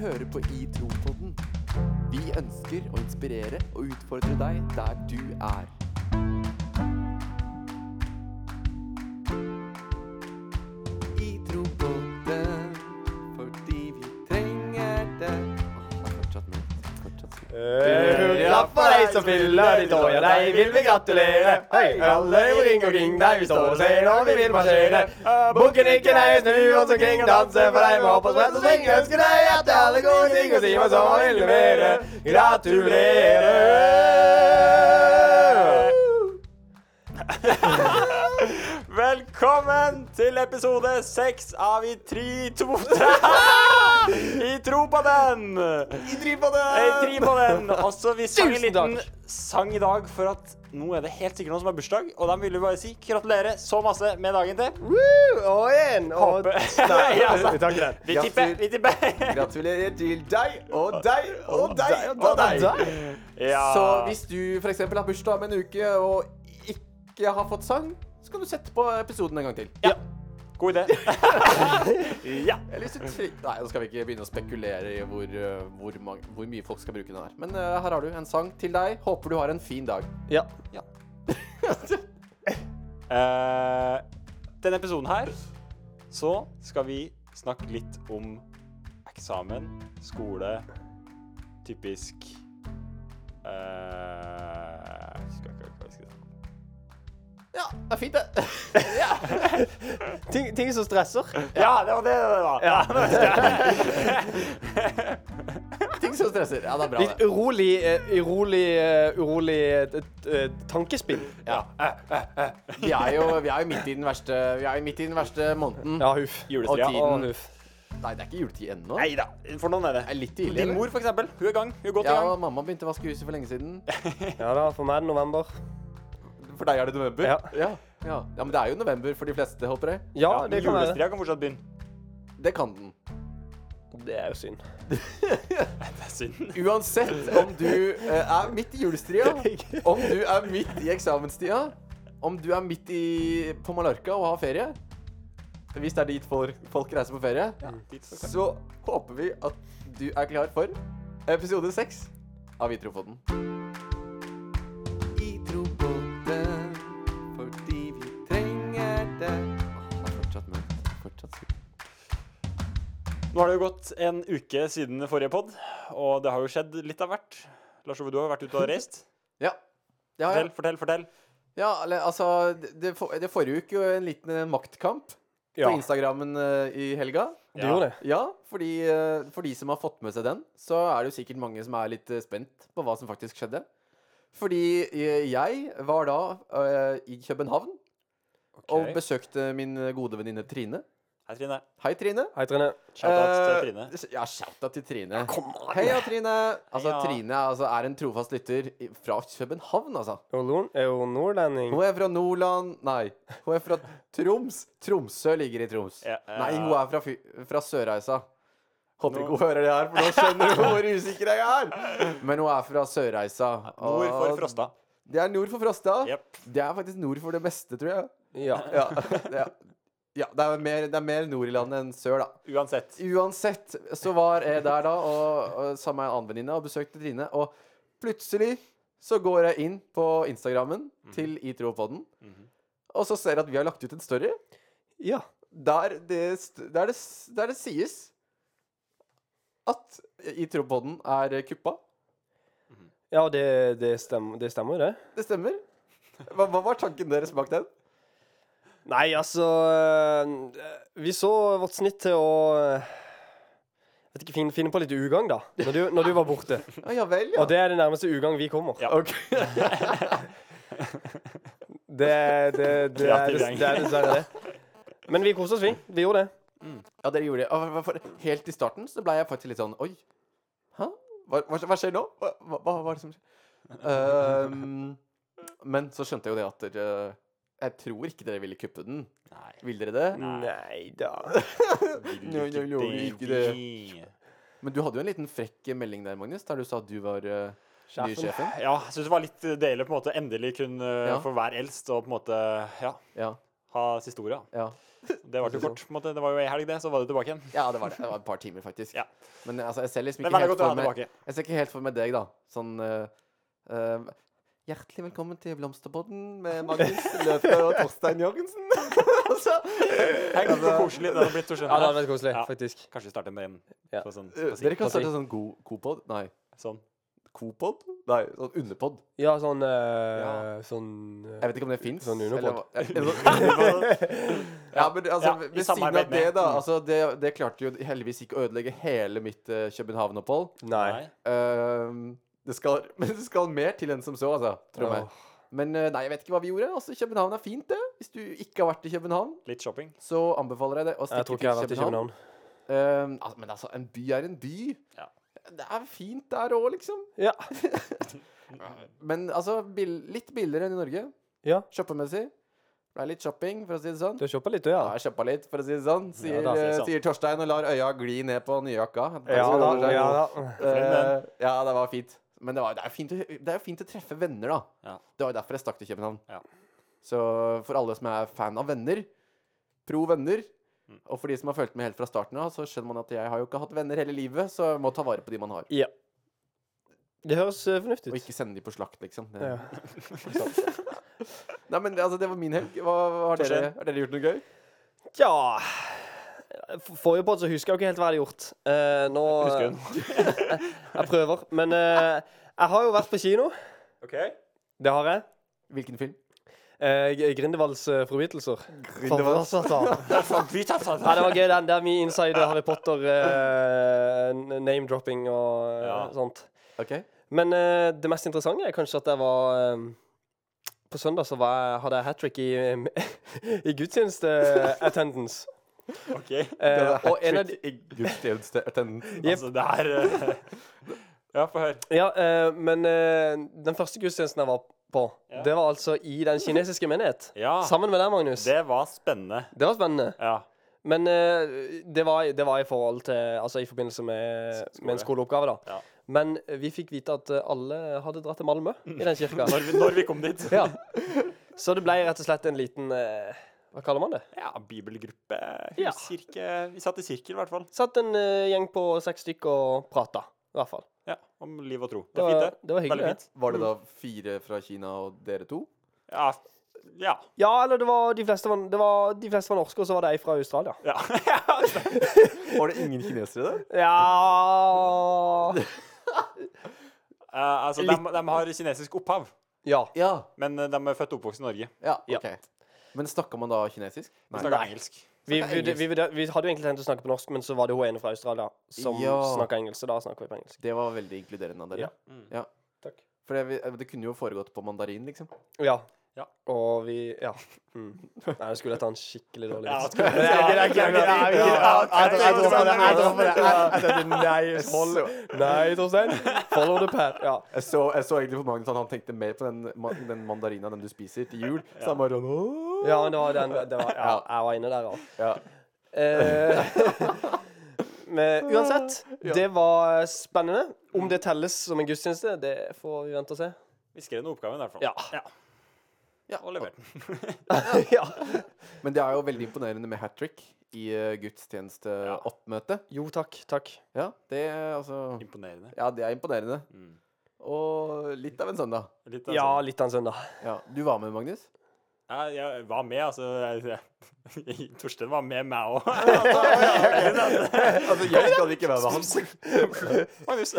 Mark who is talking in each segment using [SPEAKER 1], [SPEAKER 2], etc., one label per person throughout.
[SPEAKER 1] hører på I Tro-podden. Vi ønsker å inspirere og utfordre deg der du er. I Tro-podden, fordi vi trenger det. Åh, det er fortsatt min. Fortsatt min.
[SPEAKER 2] Hurra for deg som fyller ditt år, ja deg vil vi gratulere. Hei, alle jo ring omkring deg, vi står og ser når vi vil marsjere. Bukken ikke nei, snu oss omkring og danse for deg, må på sprett og sving. Ønsker deg at alle gode ting og si hva som vil levere. Gratulere. Velkommen til episode seks av I tri, to, tre. I tro på den. Jeg driver på den. Også vi sang en
[SPEAKER 3] Tusen takk.
[SPEAKER 2] liten sang i dag for at nå er det helt sikkert noen som har bursdag, og da vil vi bare si gratulerer så masse med dagen til.
[SPEAKER 3] Woo! Og en, og
[SPEAKER 2] Håper-
[SPEAKER 3] Nei, altså,
[SPEAKER 2] Ja, altså.
[SPEAKER 3] vi tar ikke den.
[SPEAKER 2] Vi tipper, vi tipper.
[SPEAKER 3] Gratulerer til deg og deg og deg
[SPEAKER 2] og
[SPEAKER 3] og deg.
[SPEAKER 2] Ja.
[SPEAKER 1] Så hvis du f.eks. har bursdag om en uke og ikke har fått sang, så kan du sette på episoden en gang til.
[SPEAKER 2] ja. God idé. ja.
[SPEAKER 1] Eller hvis du tre- Nei, nå skal vi ikke begynne å spekulere i hvor, eh, hvor, mang- hvor mye folk skal bruke den her. Men eh, her har du en sang til deg. Håper du har en fin dag.
[SPEAKER 3] Ja.
[SPEAKER 1] Ja.
[SPEAKER 2] Eh, denne episoden her så skal vi snakke litt om eksamen, skole, typisk eh, skal, skal, skal, skal.
[SPEAKER 1] Ja, det er fint, det.
[SPEAKER 3] Ting, ting som stresser.
[SPEAKER 2] Ja, det var det det var. Ja.
[SPEAKER 1] Ting som stresser. Ja, det er bra,
[SPEAKER 3] Litt
[SPEAKER 1] det.
[SPEAKER 3] urolig, eh, urolig, eh, urolig eh, eh, tankespinn.
[SPEAKER 1] Ja. Vi er jo, vi er jo midt, i den verste, vi er jo midt i den verste måneden.
[SPEAKER 3] Ja, huff.
[SPEAKER 2] Julestria.
[SPEAKER 3] Og tiden.
[SPEAKER 1] Å,
[SPEAKER 3] huff.
[SPEAKER 1] Nei, det er ikke juletid ennå.
[SPEAKER 2] Nei da, for noen er
[SPEAKER 1] Det
[SPEAKER 2] det.
[SPEAKER 1] er litt tidlig.
[SPEAKER 2] Din
[SPEAKER 1] eller?
[SPEAKER 2] mor, for eksempel. Hun er i gang. Hun er godt i
[SPEAKER 1] Ja,
[SPEAKER 2] gang.
[SPEAKER 1] mamma begynte å vaske huset for lenge siden.
[SPEAKER 3] Ja da, for meg er det november.
[SPEAKER 1] For deg er det november?
[SPEAKER 3] Ja.
[SPEAKER 1] Ja, ja. ja men det er jo november for de fleste, håper jeg.
[SPEAKER 3] Ja,
[SPEAKER 2] men
[SPEAKER 3] det kan være.
[SPEAKER 2] Julestria kan fortsatt begynne.
[SPEAKER 1] Det kan den.
[SPEAKER 3] Det er jo synd.
[SPEAKER 2] Det er synd.
[SPEAKER 1] Uansett om du eh, er midt i julestria, om du er midt i eksamenstida, om du er midt i, på Mallorca og har ferie Hvis det er dit folk, folk reiser på ferie,
[SPEAKER 2] Dit skal vi.
[SPEAKER 1] så håper vi at du er klar for episode seks av I Trofoden. I Trofoden fordi vi trenger det Åh, det er fortsatt mørkt. Fortsatt skummelt.
[SPEAKER 2] Nå har det jo gått en uke siden forrige pod, og det har jo skjedd litt av hvert. Lars Ove, du har vært ute og reist.
[SPEAKER 1] Ja. Ja, ja.
[SPEAKER 2] Fortell, fortell, fortell.
[SPEAKER 1] ja, eller, altså Det, det for- det foregikk jo en liten eh, maktkamp.
[SPEAKER 3] Ja,
[SPEAKER 1] på Instagrammen eh, i helga.
[SPEAKER 3] du gjorde det.
[SPEAKER 1] Ja, fordi eh, for de som har fått med seg den, så er det jo sikkert mange som er litt eh, spent på hva som faktisk skjedde. Fordi eh, jeg var da eh, i København og besøkte min eh, gode venninne Trine.
[SPEAKER 2] Hei, Trine.
[SPEAKER 1] Hei, Trine.
[SPEAKER 3] Hei, Trine.
[SPEAKER 2] Shout-out
[SPEAKER 1] Eh,
[SPEAKER 2] til Trine.
[SPEAKER 1] Ja, shout-out til Trine.
[SPEAKER 3] Kom an.
[SPEAKER 1] Heia, Trine. Altså,
[SPEAKER 2] Heia.
[SPEAKER 1] Trine altså, er en trofast lytter i- fra København, altså.
[SPEAKER 3] Og Lon er jo nordlending.
[SPEAKER 1] Hun er fra Nordland Nei, hun er fra Troms. Tromsø ligger i Troms.
[SPEAKER 2] Ja, ja.
[SPEAKER 1] Nei, hun er fra, Fy- fra Sørreisa. Håper ikke hun hører det her, for nå skjønner hun hvor usikker jeg er. Men hun er fra Sørreisa.
[SPEAKER 2] Nord for
[SPEAKER 1] og
[SPEAKER 2] Frosta.
[SPEAKER 1] Det er nord for Frosta.
[SPEAKER 2] Jepp.
[SPEAKER 1] Det er faktisk nord for det meste, tror jeg.
[SPEAKER 3] Ja.
[SPEAKER 1] Ja, det er, ja, det er, mer, det er mer nord i landet enn sør, da.
[SPEAKER 2] Uansett.
[SPEAKER 1] Uansett så var jeg der da og, og sammen med en annen venninne og besøkte Trine. Og plutselig så går jeg inn på Instagrammen
[SPEAKER 3] Mhm.
[SPEAKER 1] til I tro på den, og så ser jeg at vi har lagt ut en story
[SPEAKER 3] Ja.
[SPEAKER 1] der det, st- der det, s- der det sies at I tro på den er kuppa.
[SPEAKER 3] Ja, det, det, stemmer, det stemmer jo, det.
[SPEAKER 1] Det stemmer. Hva, hva var tanken deres bak den?
[SPEAKER 3] Nei, altså øh, Vi så vårt snitt til å øh, Vet ikke, finne, finne på litt ugagn, da. Når du, når du var borte.
[SPEAKER 1] Ja, ja vel, ja.
[SPEAKER 3] Og det er det nærmeste ugagn vi kommer.
[SPEAKER 2] Ja.
[SPEAKER 1] Ok.
[SPEAKER 3] Det, det, det, er,
[SPEAKER 2] Kreativ
[SPEAKER 3] det,
[SPEAKER 2] gjeng.
[SPEAKER 3] er dessverre det. Men vi koste oss, vi. Vi gjorde det.
[SPEAKER 1] Ja, dere gjorde det. Og hva- for- Helt i starten så ble jeg faktisk litt sånn Oi, hæ? Hva, hva, hva skjer nå? Hva, hva, hva er det som skjer? Ehm, men så skjønte jeg jo det at dere Jeg tror ikke dere ville kuppe den.
[SPEAKER 2] Nei.
[SPEAKER 1] Ville dere det?
[SPEAKER 3] Nei da.
[SPEAKER 1] Nei, nei, nei, ikke det. Men du hadde jo en liten frekk melding der, Magnus, der du sa at du var uh, nye sjefen.
[SPEAKER 2] Ja, jeg syns det var litt deilig å på en måte endelig kunne eh,
[SPEAKER 1] Ja.
[SPEAKER 2] få være eldst og på en måte Ja.
[SPEAKER 1] Ja.
[SPEAKER 2] ha siste ordet. da.
[SPEAKER 1] Ja.
[SPEAKER 2] Det var jo kort. på en måte. Det var jo ei helg, det, så var du tilbake igjen.
[SPEAKER 1] ja, det var det. Det var et par timer, faktisk.
[SPEAKER 2] Ja.
[SPEAKER 1] Men altså, jeg ser liksom
[SPEAKER 2] Men
[SPEAKER 1] ikke
[SPEAKER 2] veldig
[SPEAKER 1] helt
[SPEAKER 2] godt å
[SPEAKER 1] for
[SPEAKER 2] ha
[SPEAKER 1] meg
[SPEAKER 2] tilbake.
[SPEAKER 1] Jeg ser ikke helt for meg deg, da. Sånn eh, eh, Hjertelig velkommen til Blomsterbodden med Magnus Løper og Torstein Jørgensen. altså,
[SPEAKER 2] Tenk hvor koselig det hadde blitt. Torstein.
[SPEAKER 3] Ja, det hadde vært koselig,
[SPEAKER 2] Ja.
[SPEAKER 3] faktisk.
[SPEAKER 2] Kanskje vi starter med en
[SPEAKER 3] Ja.
[SPEAKER 2] på sånn, på
[SPEAKER 1] dere kan
[SPEAKER 3] Hva sier-
[SPEAKER 1] starte sånn go- Kopod? Nei.
[SPEAKER 2] sånn.
[SPEAKER 1] Kopod? Nei, sånn underpod.
[SPEAKER 3] Ja, sånn eh, Sånn eh,
[SPEAKER 1] Jeg vet ikke om det fins.
[SPEAKER 3] Sånn underpod.
[SPEAKER 1] ja, men altså,
[SPEAKER 2] Ja, i
[SPEAKER 1] ved siden
[SPEAKER 2] samarbeid
[SPEAKER 1] av det,
[SPEAKER 2] med-
[SPEAKER 1] da.
[SPEAKER 2] Mm.
[SPEAKER 1] Altså, det, det klarte jo heldigvis ikke å ødelegge hele mitt eh, København-opphold.
[SPEAKER 3] Nei.
[SPEAKER 1] Ehm, det skal, men det skal mer til enn som så, altså. Tror jeg.
[SPEAKER 3] Åh.
[SPEAKER 1] Men eh, nei, jeg vet ikke hva vi gjorde. Altså, København er fint, det. Hvis du ikke har vært i København,
[SPEAKER 2] Litt shopping.
[SPEAKER 1] så anbefaler jeg deg å stikke
[SPEAKER 3] Jeg tror ikke jeg har vært
[SPEAKER 1] til
[SPEAKER 3] i København.
[SPEAKER 1] København. Ehm, altså, men altså, en by er en by.
[SPEAKER 2] Ja.
[SPEAKER 1] Det er fint der òg, liksom.
[SPEAKER 3] Ja.
[SPEAKER 1] Men altså, bill litt billigere enn i Norge.
[SPEAKER 3] Ja.
[SPEAKER 1] Shoppemessig. Det er litt shopping, for å si det sånn.
[SPEAKER 3] Du har shoppa litt, du,
[SPEAKER 1] Ja,
[SPEAKER 3] ja?
[SPEAKER 1] jeg shoppa litt, for å si det sånn, sier,
[SPEAKER 3] da,
[SPEAKER 2] sier
[SPEAKER 1] eh,
[SPEAKER 2] sånn.
[SPEAKER 1] sier Torstein og lar øya gli ned på nyjakka.
[SPEAKER 3] Ja da. Ja, da.
[SPEAKER 1] Eh, ja, det var fint. Men det, var, det, er jo fint, å- det er jo fint å treffe venner, da.
[SPEAKER 2] Ja.
[SPEAKER 1] Det var jo derfor jeg stakk til København.
[SPEAKER 2] Ja.
[SPEAKER 1] Så for alle som er fan av venner, pro venner,
[SPEAKER 2] Mm.
[SPEAKER 1] og for de som har fulgt med helt fra starten av, så skjønner man at jeg har jo ikke hatt venner hele livet, så jeg må ta vare på de man har.
[SPEAKER 3] ja. Det høres eh, fornuftig
[SPEAKER 1] Og
[SPEAKER 3] ut.
[SPEAKER 1] ikke sende de på slakt, liksom. Det,
[SPEAKER 3] Ja.
[SPEAKER 1] Nei, men det- altså, det var min helg. Hva, har, dere,
[SPEAKER 2] Torstein?
[SPEAKER 1] har dere gjort noe gøy?
[SPEAKER 3] Tja f- Forrige podd så husker jeg jo ikke helt hva jeg hadde gjort. Eh, nå
[SPEAKER 2] Husker hun.
[SPEAKER 3] Jeg prøver. Men eh, jeg har jo vært på kino.
[SPEAKER 2] Okay.
[SPEAKER 3] Det har jeg.
[SPEAKER 1] Hvilken film?
[SPEAKER 3] Eh, G- Grindevalds eh, forbrytelser. altså.
[SPEAKER 1] Grindelwald?
[SPEAKER 3] Forfatter. Ja,
[SPEAKER 2] Det
[SPEAKER 3] det var gøy, den. Det er mye inside Harry Potter, eh, n- name-dropping og eh,
[SPEAKER 2] Ja.
[SPEAKER 3] sånt.
[SPEAKER 1] Ok.
[SPEAKER 3] Men eh, det mest interessante er kanskje at jeg var eh, På søndag så var jeg, hadde jeg hat trick i, i gudstjeneste-attendance.
[SPEAKER 2] Ok.
[SPEAKER 3] Eh, og en av de
[SPEAKER 1] de
[SPEAKER 2] Altså, det er eh, Ja, få høre.
[SPEAKER 3] Ja, eh, men eh, den første gudstjenesten jeg var på,
[SPEAKER 2] Ja.
[SPEAKER 3] det var altså i den kinesiske menighet.
[SPEAKER 2] Ja,
[SPEAKER 3] Sammen med deg, Magnus. Det,
[SPEAKER 2] det var spennende.
[SPEAKER 3] var spennende.
[SPEAKER 2] Ja.
[SPEAKER 3] Men eh, det, var, det var i forhold til Altså i forbindelse med,
[SPEAKER 2] skole.
[SPEAKER 3] med en skoleoppgave, da.
[SPEAKER 2] Ja.
[SPEAKER 3] Men vi fikk vite at eh, alle hadde dratt til Malmö i den kirka.
[SPEAKER 2] Når vi, når vi kom dit.
[SPEAKER 3] ja. Så det ble rett og slett en liten eh, Hva kaller man det?
[SPEAKER 2] Ja, bibelgruppe,
[SPEAKER 3] Ja.
[SPEAKER 2] huskirke Vi satt i sirkel, i hvert fall.
[SPEAKER 3] Satt en eh, gjeng på seks stykker og prata, i hvert fall.
[SPEAKER 2] Ja, Om liv og tro. Det var fint, det.
[SPEAKER 3] det var hyggelig.
[SPEAKER 2] Veldig
[SPEAKER 3] det.
[SPEAKER 2] fint.
[SPEAKER 1] Var det da fire fra Kina og dere to?
[SPEAKER 2] Ja. Ja.
[SPEAKER 3] Ja, eller det var de fleste var, det var, de fleste var norske, og så var det ei fra Australia.
[SPEAKER 2] ja.
[SPEAKER 1] Var det ingen kinesere der?
[SPEAKER 3] Ja
[SPEAKER 2] Eh, altså, de, de har kinesisk opphav,
[SPEAKER 3] Ja.
[SPEAKER 1] Ja.
[SPEAKER 2] men eh, de er født og oppvokst i Norge.
[SPEAKER 1] Ja,
[SPEAKER 3] Ja.
[SPEAKER 1] ok. Men snakka man da kinesisk?
[SPEAKER 2] De snakker engelsk.
[SPEAKER 3] Vi,
[SPEAKER 1] Snakker
[SPEAKER 3] vi, vi,
[SPEAKER 1] engelsk.
[SPEAKER 3] vurder- vi hadde jo egentlig tenkt å snakke på norsk, men så var det hun ene fra Australia som
[SPEAKER 1] Ja.
[SPEAKER 3] snakka engelsk. Så da snakker vi på engelsk.
[SPEAKER 1] Det var veldig inkluderende av dere.
[SPEAKER 3] Ja.
[SPEAKER 2] Mm.
[SPEAKER 1] Ja.
[SPEAKER 3] Takk.
[SPEAKER 1] For det, vi- det kunne jo foregått på mandarin, liksom.
[SPEAKER 3] Ja.
[SPEAKER 2] Ja.
[SPEAKER 3] Og vi Ja. Mm. Nei, nå skulle jeg ta en skikkelig dårlig
[SPEAKER 2] Ja,
[SPEAKER 3] vits.
[SPEAKER 2] skulle-
[SPEAKER 3] Men jeg gidder- jeg gidder- jeg gidder- jeg gidder-
[SPEAKER 2] Ja,
[SPEAKER 3] jeg gidder- jeg gidder- jeg gidder- jeg gidder- jeg gidder-
[SPEAKER 1] Jeg tenkte, nei, hold jo.
[SPEAKER 3] Nei, Torstein. Follow the path. Ja.
[SPEAKER 1] Jeg så, jeg så egentlig på Magnus at han tenkte mer på den, ma- den mandarina den du spiser til jul. Så han bare sånn «Åh».
[SPEAKER 3] ja, men det var den det var, ja, Jeg var inne der, ja.
[SPEAKER 1] Ja.
[SPEAKER 3] Eh, men uansett, det var spennende. Om det telles som en gudstjeneste, det får vi vente og se.
[SPEAKER 2] Vi skrev noen oppgaven, i hvert fall.
[SPEAKER 3] Ja.
[SPEAKER 1] Ja.
[SPEAKER 2] Og leverte den.
[SPEAKER 3] ja.
[SPEAKER 1] Men det er jo veldig imponerende med hat trick i uh, gudstjenesteoppmøte.
[SPEAKER 3] Jo, takk. Takk.
[SPEAKER 1] Ja, det er altså
[SPEAKER 2] Imponerende.
[SPEAKER 1] Ja, det er imponerende.
[SPEAKER 2] Mm.
[SPEAKER 1] Og litt av en søndag.
[SPEAKER 2] Litt, altså.
[SPEAKER 3] Ja, litt av en søndag.
[SPEAKER 1] Ja, du var med, Magnus?
[SPEAKER 2] Ja, jeg var med, altså. Jeg, jeg, Torstein var med, meg òg.
[SPEAKER 1] Altså, jeg skal ikke være med han.
[SPEAKER 2] Magnus.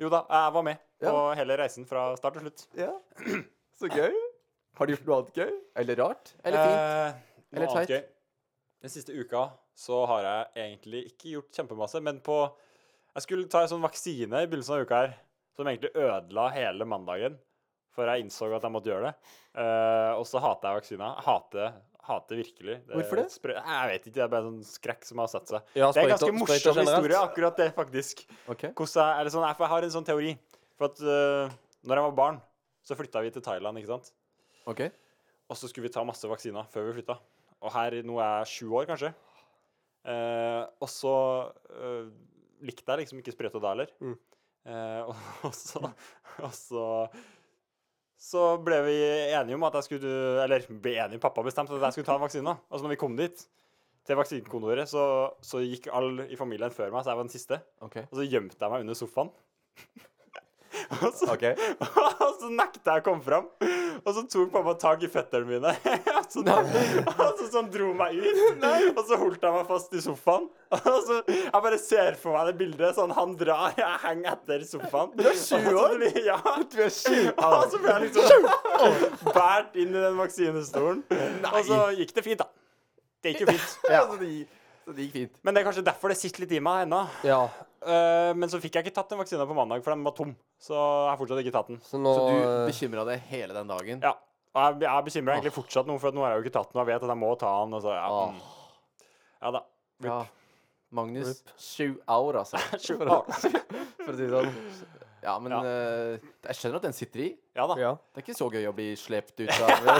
[SPEAKER 2] jo da, jeg var med
[SPEAKER 1] Ja.
[SPEAKER 2] på hele reisen fra start til slutt.
[SPEAKER 1] Ja. Så gøy. Har du gjort noe annet gøy? Eller rart? Eller fint?
[SPEAKER 2] Eh, noe
[SPEAKER 1] Eller
[SPEAKER 2] annet
[SPEAKER 1] teit?
[SPEAKER 2] gøy. Den siste uka så har jeg egentlig ikke gjort kjempemasse, men på Jeg skulle ta en sånn vaksine i begynnelsen av uka her, som egentlig ødela hele mandagen. For jeg innså at jeg måtte gjøre det. Eh, og så hater jeg vaksiner. Jeg Hater, hater virkelig.
[SPEAKER 1] Hvorfor det? Altså,
[SPEAKER 2] Sprø jeg vet ikke. Det er bare en sånn skrekk som har satt seg.
[SPEAKER 3] Ja,
[SPEAKER 2] Det er
[SPEAKER 3] sprøyter-
[SPEAKER 2] en ganske
[SPEAKER 3] sprøyter
[SPEAKER 2] morsom
[SPEAKER 3] generelt.
[SPEAKER 2] historie, akkurat det, faktisk.
[SPEAKER 1] Ok.
[SPEAKER 2] Hvordan jeg, eller sånn, jeg- for jeg har en sånn teori. For at uh, når jeg var barn, så flytta vi til Thailand, ikke sant?
[SPEAKER 1] ok.
[SPEAKER 2] Og så skulle vi ta masse vaksiner før vi flytta. Og her, nå er jeg sju år, kanskje. Eh, og så eh, likte jeg Eh, liksom ikke sprøyta da heller.
[SPEAKER 3] Mm.
[SPEAKER 2] Eh, og, og så Og så så ble vi enige om at jeg skulle Eller ble enige, pappa bestemte at jeg skulle ta en vaksine. Og så når vi kom dit, til vaksinekontoret, så, så gikk alle i familien før meg, så jeg var den siste.
[SPEAKER 1] Ok.
[SPEAKER 2] Og så gjemte jeg meg under sofaen. og, så,
[SPEAKER 4] OK.
[SPEAKER 2] og så nekta jeg å komme fram. Og så tok pappa tak i føttene mine. og så, og så sånn dro meg ut. Og så holdt jeg meg fast i sofaen. Og så Jeg bare ser for meg det bildet. Sånn, han drar, jeg henger etter i sofaen. Du er sju år? Ah. Ja. Du er sju Og så ble jeg liksom båret inn i den vaksinestolen. Og så gikk det fint, da. Det gikk jo fint.
[SPEAKER 1] Så, det, gikk- så det gikk fint.
[SPEAKER 2] Men det er kanskje derfor det sitter litt i meg ennå.
[SPEAKER 3] Ja,
[SPEAKER 2] Eh, men så fikk jeg ikke tatt den vaksina på mandag, for den var tom. Så jeg har fortsatt ikke tatt den.
[SPEAKER 3] så nå
[SPEAKER 1] Så du
[SPEAKER 3] eh,
[SPEAKER 1] bekymra deg hele den dagen?
[SPEAKER 2] Ja. Og jeg, jeg bekymrer egentlig fortsatt noe, for at nå har jeg jo ikke tatt den, og jeg vet at jeg må ta den. Og så, ja,
[SPEAKER 1] Åh.
[SPEAKER 2] mm. ja da.
[SPEAKER 1] Ja. Magnus, sju år, altså.
[SPEAKER 2] Sju
[SPEAKER 1] For å, for å si det sånn. Ja, men
[SPEAKER 2] Ja.
[SPEAKER 1] eh, jeg skjønner at den sitter i.
[SPEAKER 2] Ja da.
[SPEAKER 3] ja.
[SPEAKER 1] Det er ikke så gøy å bli slept ut av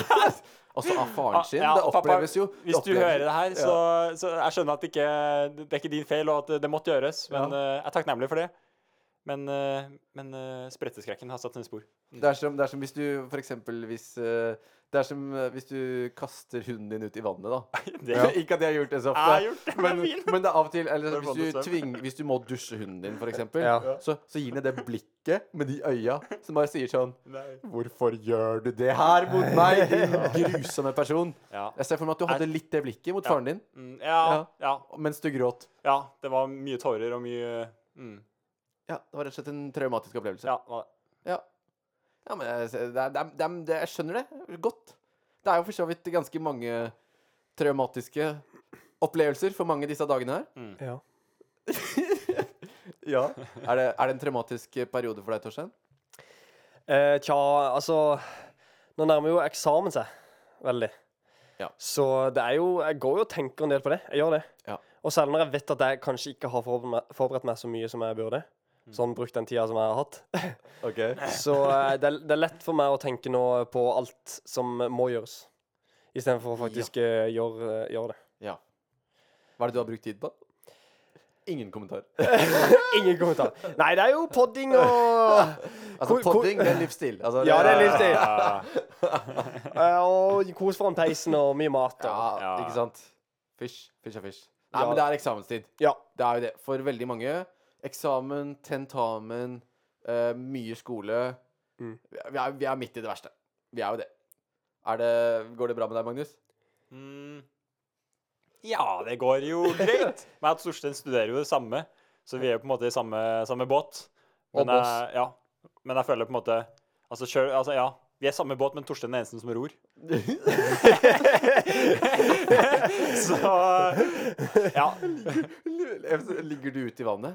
[SPEAKER 1] Altså av faren sin.
[SPEAKER 2] Ah, Ja,
[SPEAKER 1] det oppleves jo det
[SPEAKER 2] Hvis du
[SPEAKER 1] oppleves-
[SPEAKER 2] hører det her, så, så jeg skjønner at det ikke det er ikke din feil, og at det måtte gjøres. Men eh, jeg er takknemlig for det. Men, eh, men eh, spretteskrekken har satt sine spor.
[SPEAKER 1] Det er som, det er som hvis du for eksempel hvis eh, Det er som eh, hvis du kaster hunden din ut i vannet, da.
[SPEAKER 2] Det har
[SPEAKER 1] Ikke at jeg har gjort det så
[SPEAKER 2] jeg har
[SPEAKER 1] ofte.
[SPEAKER 2] gjort det
[SPEAKER 1] Men,
[SPEAKER 2] med min.
[SPEAKER 1] men det er av og til eller,
[SPEAKER 2] For å få
[SPEAKER 1] hvis, du
[SPEAKER 2] det til.
[SPEAKER 1] tving, hvis du må dusje hunden din, for eksempel,
[SPEAKER 3] Ja.
[SPEAKER 1] så, så gir den det blikket med de øya som bare sier sånn
[SPEAKER 2] Nei.
[SPEAKER 1] Hvorfor gjør du det her mot meg, din grusomme person?
[SPEAKER 2] Ja.
[SPEAKER 1] Jeg ser for meg at du hadde litt det blikket mot faren din
[SPEAKER 2] Mm, ja,
[SPEAKER 1] Ja.
[SPEAKER 2] ja.
[SPEAKER 1] mens du gråt.
[SPEAKER 2] Ja. Det var mye tårer og mye mm.
[SPEAKER 1] Ja, Det var rett og slett en traumatisk opplevelse.
[SPEAKER 2] Ja, det var det.
[SPEAKER 1] Ja. ja men jeg, det er, det er, det er, det, jeg skjønner det godt. Det er jo for så vidt ganske mange traumatiske opplevelser for mange disse dagene her.
[SPEAKER 2] Mm.
[SPEAKER 3] ja.
[SPEAKER 1] Mm. Ja. Er det, er det en traumatisk periode for deg, Torstein?
[SPEAKER 3] Eh, tja, altså Nå nærmer jo eksamen seg veldig.
[SPEAKER 1] Ja.
[SPEAKER 3] Så det er jo Jeg går jo og tenker en del på det. Jeg gjør det.
[SPEAKER 1] Ja.
[SPEAKER 3] Og selv når jeg vet at jeg kanskje ikke har forberedt meg, forberedt meg så mye som jeg burde, sånn brukt den tida som jeg har hatt, så eh, det, er, det er lett for meg å tenke nå på alt som må gjøres, istedenfor å faktisk eh, gjøre gjøre det.
[SPEAKER 1] Ja. Hva er det du har brukt tid på? Ingen kommentar.
[SPEAKER 3] Ingen kommentar. Nei, det er jo podding og
[SPEAKER 1] Altså,
[SPEAKER 3] Hvor- hvor-
[SPEAKER 1] podding, det er livsstil. Altså,
[SPEAKER 3] Ja, det er
[SPEAKER 1] livsstil.
[SPEAKER 3] livsstil.
[SPEAKER 2] Ja.
[SPEAKER 3] eh, Og kos foran peisen og mye mat.
[SPEAKER 1] Ja,
[SPEAKER 3] Og,
[SPEAKER 2] Ja.
[SPEAKER 1] ikke sant? Fysj, fysj og fysj. Nei,
[SPEAKER 3] Ja.
[SPEAKER 1] men det er eksamenstid.
[SPEAKER 3] ja.
[SPEAKER 1] Det er jo det. For veldig mange. Eksamen, tentamen, eh, mye skole.
[SPEAKER 3] Mm.
[SPEAKER 1] Vi, er, vi er midt i det verste. Vi er jo det. Er det går det bra med deg, Magnus?
[SPEAKER 2] Mm. Ja, det går jo greit. Men jeg og Torstein studerer jo det samme, så vi er jo på en måte i samme, samme båt.
[SPEAKER 3] Og
[SPEAKER 2] Men jeg, ja. Men jeg føler på en måte Altså, selv, altså ja. Vi er i samme båt, men Torstein er den eneste som ror. så Ja.
[SPEAKER 1] Ligger du ute i vannet?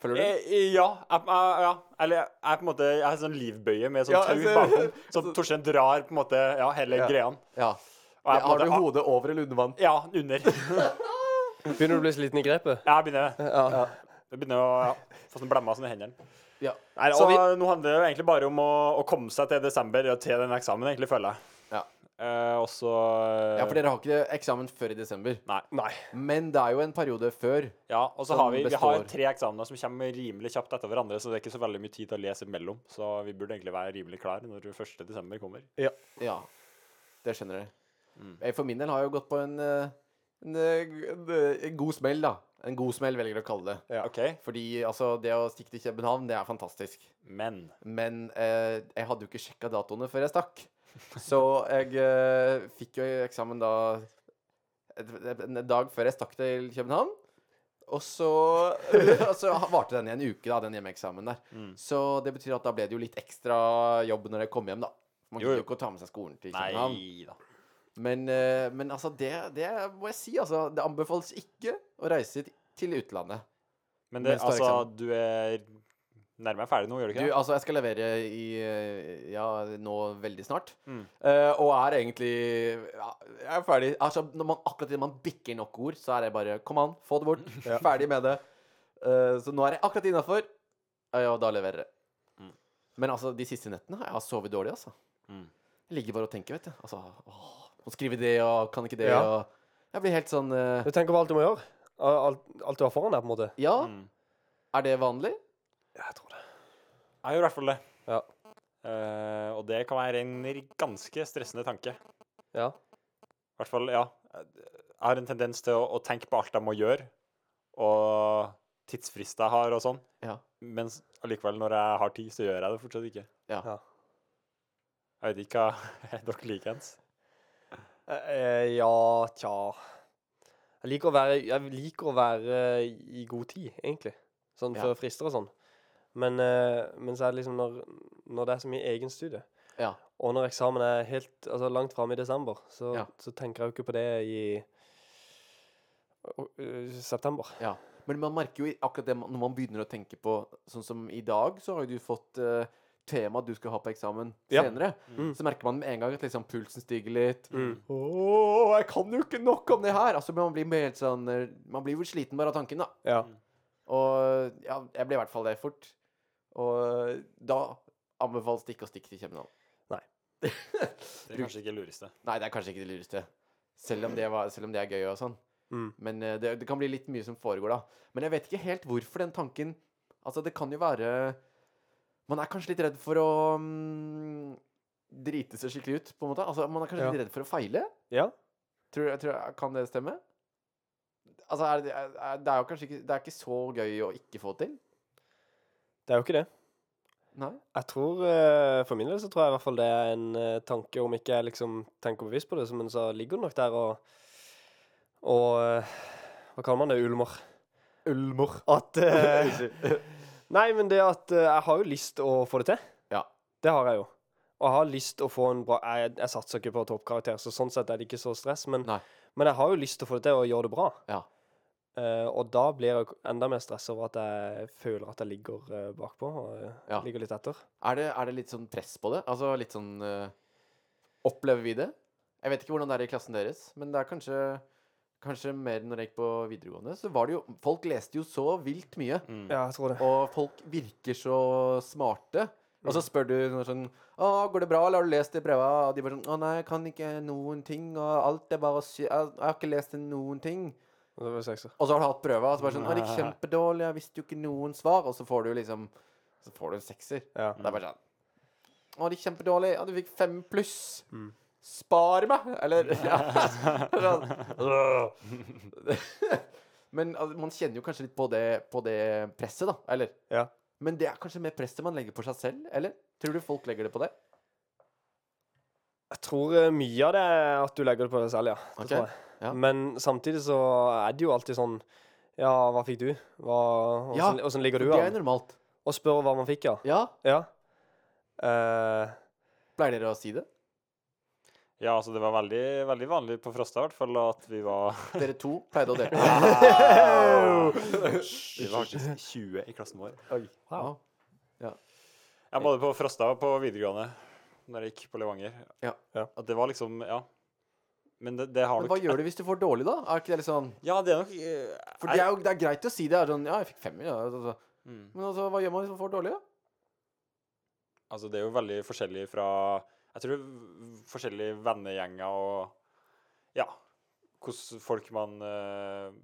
[SPEAKER 1] Føler du? det?
[SPEAKER 2] Eh, Ja. Jeg, jeg, ja. Eller jeg er på en måte Jeg har sånn livbøye med sånn
[SPEAKER 1] Ja,
[SPEAKER 2] tau
[SPEAKER 1] altså-
[SPEAKER 2] bakom, så Torstein drar på en måte ja, hele
[SPEAKER 1] Ja.
[SPEAKER 2] greia.
[SPEAKER 1] Ja.
[SPEAKER 2] Og jeg er på en
[SPEAKER 1] Har du
[SPEAKER 2] måte-
[SPEAKER 1] hodet over eller under vann?
[SPEAKER 2] Ja, under.
[SPEAKER 3] Begynner du å bli sliten i grepet?
[SPEAKER 2] Jeg begynner,
[SPEAKER 3] Ja.
[SPEAKER 2] jeg begynner å ja, få sånn blemmer sånn i hendene.
[SPEAKER 1] Ja.
[SPEAKER 3] Nei,
[SPEAKER 2] Så
[SPEAKER 3] og vi,
[SPEAKER 2] nå handler det jo egentlig bare om å, å komme seg til desember og til den eksamen, egentlig, føler jeg.
[SPEAKER 1] Ja.
[SPEAKER 2] Eh, og så
[SPEAKER 1] ja, for dere har ikke eksamen før i desember.
[SPEAKER 2] Nei.
[SPEAKER 3] nei.
[SPEAKER 1] Men det er jo en periode før.
[SPEAKER 2] Ja, og så
[SPEAKER 1] Som
[SPEAKER 2] har vi, vi har
[SPEAKER 1] består.
[SPEAKER 2] tre eksamener som kommer rimelig kjapt etter hverandre, så det er ikke så veldig mye tid til å lese imellom. Så vi burde egentlig være rimelig klar når 1. desember kommer.
[SPEAKER 1] Ja. Det skjønner jeg. Jeg for min del har jo gått på en, eh, en, eh, en, eh, en god smell, da. En god smell, velger jeg å kalle det.
[SPEAKER 2] OK?
[SPEAKER 1] Fordi altså, det å stikke til København, det er fantastisk.
[SPEAKER 2] Men
[SPEAKER 1] Men eh, jeg hadde jo ikke sjekka datoene før jeg stakk. Så jeg eh, fikk jo eksamen da et- en dag før jeg stakk til København. Og så, og så varte den i en uke, da, den hjemmeeksamen der.
[SPEAKER 2] Mm.
[SPEAKER 1] Så det betyr at da ble det jo litt ekstra jobb når jeg kom hjem, da. Man
[SPEAKER 2] Jo,
[SPEAKER 1] kunne
[SPEAKER 2] jo.
[SPEAKER 1] jo ikke ta med seg skolen til
[SPEAKER 2] nei
[SPEAKER 1] København.
[SPEAKER 2] da.
[SPEAKER 1] Men, eh, men altså, det, det må jeg si, altså. Det anbefales ikke å reise til utlandet.
[SPEAKER 2] Men det,
[SPEAKER 1] Mens du har
[SPEAKER 2] altså, du er nærmere ferdig nå, gjør du
[SPEAKER 1] Du,
[SPEAKER 2] ikke det?
[SPEAKER 1] altså, jeg skal levere i eh, Ja, nå veldig snart.
[SPEAKER 2] Mm.
[SPEAKER 1] Eh, og er egentlig ja, Jeg er ferdig. Altså, når man, akkurat idet man bikker nok ord, så er det bare Kom an, få det bort. Ferdig med det. Eh, så nå er jeg akkurat innafor, og da leverer jeg.
[SPEAKER 2] Mm.
[SPEAKER 1] Men altså, de siste nettene har jeg sovet dårlig, altså.
[SPEAKER 2] Mm.
[SPEAKER 1] Jeg ligger bare og tenker, vet du. Altså, åh, må skrive det, og kan ikke det,
[SPEAKER 3] Ja.
[SPEAKER 1] og Jeg blir helt sånn eh,
[SPEAKER 3] Du tenker på alt du må gjøre? Al- Alt, alt du har foran deg, på en måte?
[SPEAKER 1] Ja,
[SPEAKER 2] Mm.
[SPEAKER 1] er det vanlig?
[SPEAKER 3] Jeg tror det.
[SPEAKER 2] Jeg gjør i hvert fall det.
[SPEAKER 3] Ja.
[SPEAKER 2] Eh, og og det kan være en ganske stressende tanke.
[SPEAKER 3] Ja.
[SPEAKER 2] I hvert fall, ja. Jeg har en tendens til å, å tenke på alt jeg må gjøre, og tidsfrister jeg har og sånn.
[SPEAKER 1] Ja.
[SPEAKER 2] Men allikevel, når jeg har tid, så gjør jeg det fortsatt ikke.
[SPEAKER 1] Ja.
[SPEAKER 3] Ja.
[SPEAKER 2] Jeg vet ikke hva er dere likeens.
[SPEAKER 3] Eh, ja, tja jeg liker, å være, jeg liker å være i god tid, egentlig. Sånn
[SPEAKER 1] Ja.
[SPEAKER 3] før frister og sånn. Men, eh, men så er det liksom når, når det er så mye egenstudie,
[SPEAKER 1] Ja.
[SPEAKER 3] og når eksamen er helt altså, langt framme i desember, så,
[SPEAKER 1] Ja.
[SPEAKER 3] så tenker jeg jo ikke på det i og, eh, september.
[SPEAKER 1] Ja. Men man merker jo i- akkurat det man- når man begynner å tenke på Sånn som i dag, så har jo du fått eh, tema du skal ha på eksamen
[SPEAKER 3] Ja.
[SPEAKER 1] senere.
[SPEAKER 3] Mm.
[SPEAKER 1] Så merker man med en gang at liksom pulsen stiger litt.
[SPEAKER 3] Mm.
[SPEAKER 1] Åh, jeg kan jo ikke nok om det her! Altså, man blir mer helt sånn eh, Man blir jo sliten bare av tanken, da.
[SPEAKER 3] Ja.
[SPEAKER 1] Og ja, jeg ble i hvert fall det fort. Og eh, da anbefales det ikke å stikke til København.
[SPEAKER 2] Det er kanskje ikke det lureste.
[SPEAKER 1] Nei, det er kanskje ikke det lureste. Selv om det, var, selv om det er gøy og sånn.
[SPEAKER 3] Mm.
[SPEAKER 1] Men eh, det, det kan bli litt mye som foregår da. Men jeg vet ikke helt hvorfor den tanken Altså, det kan jo være Man er kanskje litt redd for å mm, drite seg skikkelig ut, på en måte. Altså, man er kanskje
[SPEAKER 3] Ja.
[SPEAKER 1] litt redd for å feile?
[SPEAKER 3] Ja.
[SPEAKER 1] Tror, jeg tror, kan det stemme? Altså, er, det- er, er- det er jo kanskje ikke Det er ikke så gøy å ikke få til.
[SPEAKER 3] Det er jo ikke det.
[SPEAKER 1] Nei?
[SPEAKER 3] Jeg tror, eh, For min del så tror jeg i hvert fall det er en eh, tanke, om ikke jeg liksom tenker bevisst på det, så- men så ligger det nok der og Og eh, hva kaller man det? Ulmer. Ulmer. At eh, Nei, men det at eh, jeg har jo lyst å få det til.
[SPEAKER 1] Ja.
[SPEAKER 3] Det har jeg jo. Og jeg har lyst å få en bra Jeg, jeg satser ikke på toppkarakter, så sånn sett er det ikke så stress, men,
[SPEAKER 1] Nei.
[SPEAKER 3] men jeg har jo lyst til å få det til og gjøre det bra.
[SPEAKER 1] Ja.
[SPEAKER 3] Eh, og da blir jeg jo enda mer stress over at jeg føler at jeg ligger eh, bakpå og eh,
[SPEAKER 1] Ja.
[SPEAKER 3] ligger litt etter.
[SPEAKER 1] Er det, er det litt sånn press på det? Altså litt sånn eh, Opplever vi det? Jeg vet ikke hvordan det er i klassen deres, men det er kanskje Kanskje mer når jeg gikk på videregående, så var det jo Folk leste jo så vilt mye,
[SPEAKER 2] Mm.
[SPEAKER 3] Ja, jeg tror det.
[SPEAKER 1] og folk virker så smarte. Og så spør du noe sånn 'Å, går det bra, eller har du lest det brevet?' Og de bare sånn 'Å nei, jeg kan ikke noen ting', og alt er bare sy... Jeg jeg har ikke lest noen ting'.
[SPEAKER 3] Det var sekser.
[SPEAKER 1] Og så har du hatt prøva, og så bare sånn 'Å, det gikk kjempedårlig, jeg visste jo ikke noen svar', og så får du liksom Så får du en sekser.
[SPEAKER 3] Ja.
[SPEAKER 1] Det er bare sånn Å, det gikk kjempedårlig. Ja, du fikk fem pluss. Spar meg! Eller ja. Sånn. Men altså, man kjenner jo kanskje litt på det, på det presset, da. Eller?
[SPEAKER 3] Ja.
[SPEAKER 1] Men det er kanskje mer presset man legger på seg selv, eller? Tror du folk legger det på det?
[SPEAKER 3] Jeg tror eh, mye av det er at du legger det på deg selv, ja. Det
[SPEAKER 1] Ok,
[SPEAKER 3] tror jeg.
[SPEAKER 1] ja.
[SPEAKER 3] Men samtidig så er det jo alltid sånn Ja, hva fikk du? Hva, hvordan,
[SPEAKER 1] Ja,
[SPEAKER 3] hvordan ligger
[SPEAKER 1] For
[SPEAKER 3] du
[SPEAKER 1] det er
[SPEAKER 3] an?
[SPEAKER 1] normalt.
[SPEAKER 3] Og spør hva man fikk, ja.
[SPEAKER 1] Ja,
[SPEAKER 3] Ja. Eh,
[SPEAKER 1] pleier dere å si det?
[SPEAKER 2] Ja, altså det var veldig, veldig vanlig på Frosta i hvert fall at vi var
[SPEAKER 1] Dere to pleide å dele.
[SPEAKER 2] Vi var faktisk 20 i klassen vår.
[SPEAKER 1] Ja.
[SPEAKER 2] Ja, både på Frosta og på videregående, når jeg gikk på Levanger.
[SPEAKER 1] Ja.
[SPEAKER 3] Ja.
[SPEAKER 2] At det var liksom Ja. Men det, det har
[SPEAKER 1] Men
[SPEAKER 2] nok
[SPEAKER 1] hva gjør du hvis du får dårlig, da? Er ikke det litt sånn
[SPEAKER 2] Ja, det er nok eh,
[SPEAKER 1] For det er jo det er greit å si det. Er sånn, ja, jeg fikk femmer. Ja. altså.
[SPEAKER 2] Mm.
[SPEAKER 1] Men altså, hva gjør man hvis man får dårlig, da?
[SPEAKER 2] Altså, det er jo veldig forskjellig fra Jeg tror v- forskjellige vennegjenger og Ja, hvordan folk man, eh,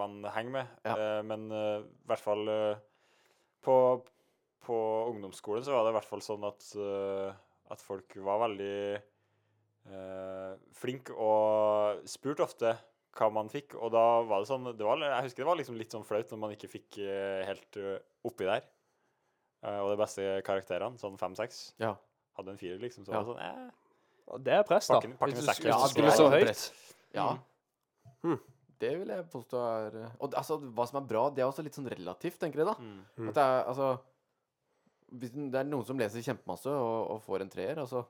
[SPEAKER 2] man henger med.
[SPEAKER 1] Ja.
[SPEAKER 2] Eh, men eh, i hvert fall eh, på, på ungdomsskolen så var det i hvert fall sånn at, eh, at folk var veldig uh, flinke og spurte ofte hva man fikk, og da var det sånn det var, Jeg husker det var liksom litt sånn flaut når man ikke fikk eh, helt eh, oppi der. Eh, og de beste karakterene, sånn fem-seks,
[SPEAKER 1] Ja.
[SPEAKER 2] hadde en firer, liksom. Så
[SPEAKER 1] Ja.
[SPEAKER 2] var det sånn eh,
[SPEAKER 3] og det er press, da.
[SPEAKER 2] Pakken- pakken
[SPEAKER 3] hvis du,
[SPEAKER 2] med sekken,
[SPEAKER 3] hvis
[SPEAKER 1] så
[SPEAKER 3] du skulle
[SPEAKER 1] er altså.
[SPEAKER 3] så
[SPEAKER 1] det
[SPEAKER 3] høyt.
[SPEAKER 1] press. Ja. Hm.
[SPEAKER 3] Hmm.
[SPEAKER 1] Det vil jeg påstå er eh, Og det- altså, hva som er bra, det er også litt sånn relativt, tenker jeg, da.
[SPEAKER 2] Mm.
[SPEAKER 3] Mm.
[SPEAKER 1] At det er altså Hvis den- det er noen som leser kjempemasse og, og får en treer, altså,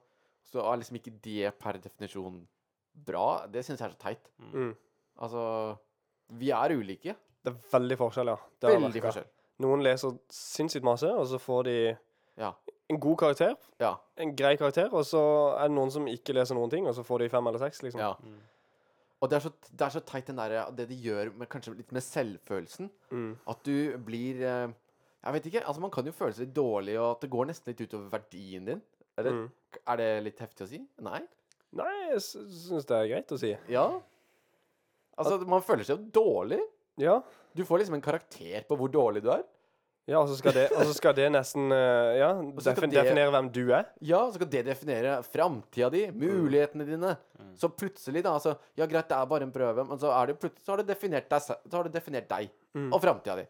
[SPEAKER 1] så er liksom ikke det per definisjon bra. Det syns jeg er så teit.
[SPEAKER 3] Mm.
[SPEAKER 1] Altså Vi er ulike.
[SPEAKER 3] Det er veldig forskjell, ja. Det har jeg
[SPEAKER 1] Veldig
[SPEAKER 3] merket.
[SPEAKER 1] forskjell.
[SPEAKER 3] Noen leser sinnssykt masse, og så får de
[SPEAKER 1] Ja.
[SPEAKER 3] en god karakter.
[SPEAKER 1] Ja.
[SPEAKER 3] En grei karakter, og så er det noen som ikke leser noen ting, og så får de fem eller seks, liksom.
[SPEAKER 1] ja.
[SPEAKER 2] Mm.
[SPEAKER 1] Og det er, så, det er så teit den der, det de gjør med, kanskje litt med selvfølelsen.
[SPEAKER 3] Mm.
[SPEAKER 1] At du blir eh, Jeg vet ikke. altså Man kan jo føle seg litt dårlig, og at det går nesten litt utover verdien din. Er det,
[SPEAKER 3] Mm.
[SPEAKER 1] er det litt heftig å si? Nei?
[SPEAKER 3] Nei, jeg sy- syns det er greit å si.
[SPEAKER 1] Ja. Altså, man føler seg jo dårlig.
[SPEAKER 3] Ja.
[SPEAKER 1] Du får liksom en karakter på hvor dårlig du er.
[SPEAKER 3] Ja, og så skal det, og så skal det nesten eh, Ja,
[SPEAKER 1] så skal
[SPEAKER 3] defin,
[SPEAKER 1] det-
[SPEAKER 3] definere hvem du er.
[SPEAKER 1] Ja, så skal det definere framtida di,
[SPEAKER 3] Mm.
[SPEAKER 1] mulighetene dine. Så plutselig, da altså, Ja, greit, det er bare en prøve, men så, er det jo plutselig, så har det definert deg, se- så har det definert deg
[SPEAKER 3] Mm.
[SPEAKER 1] og framtida di.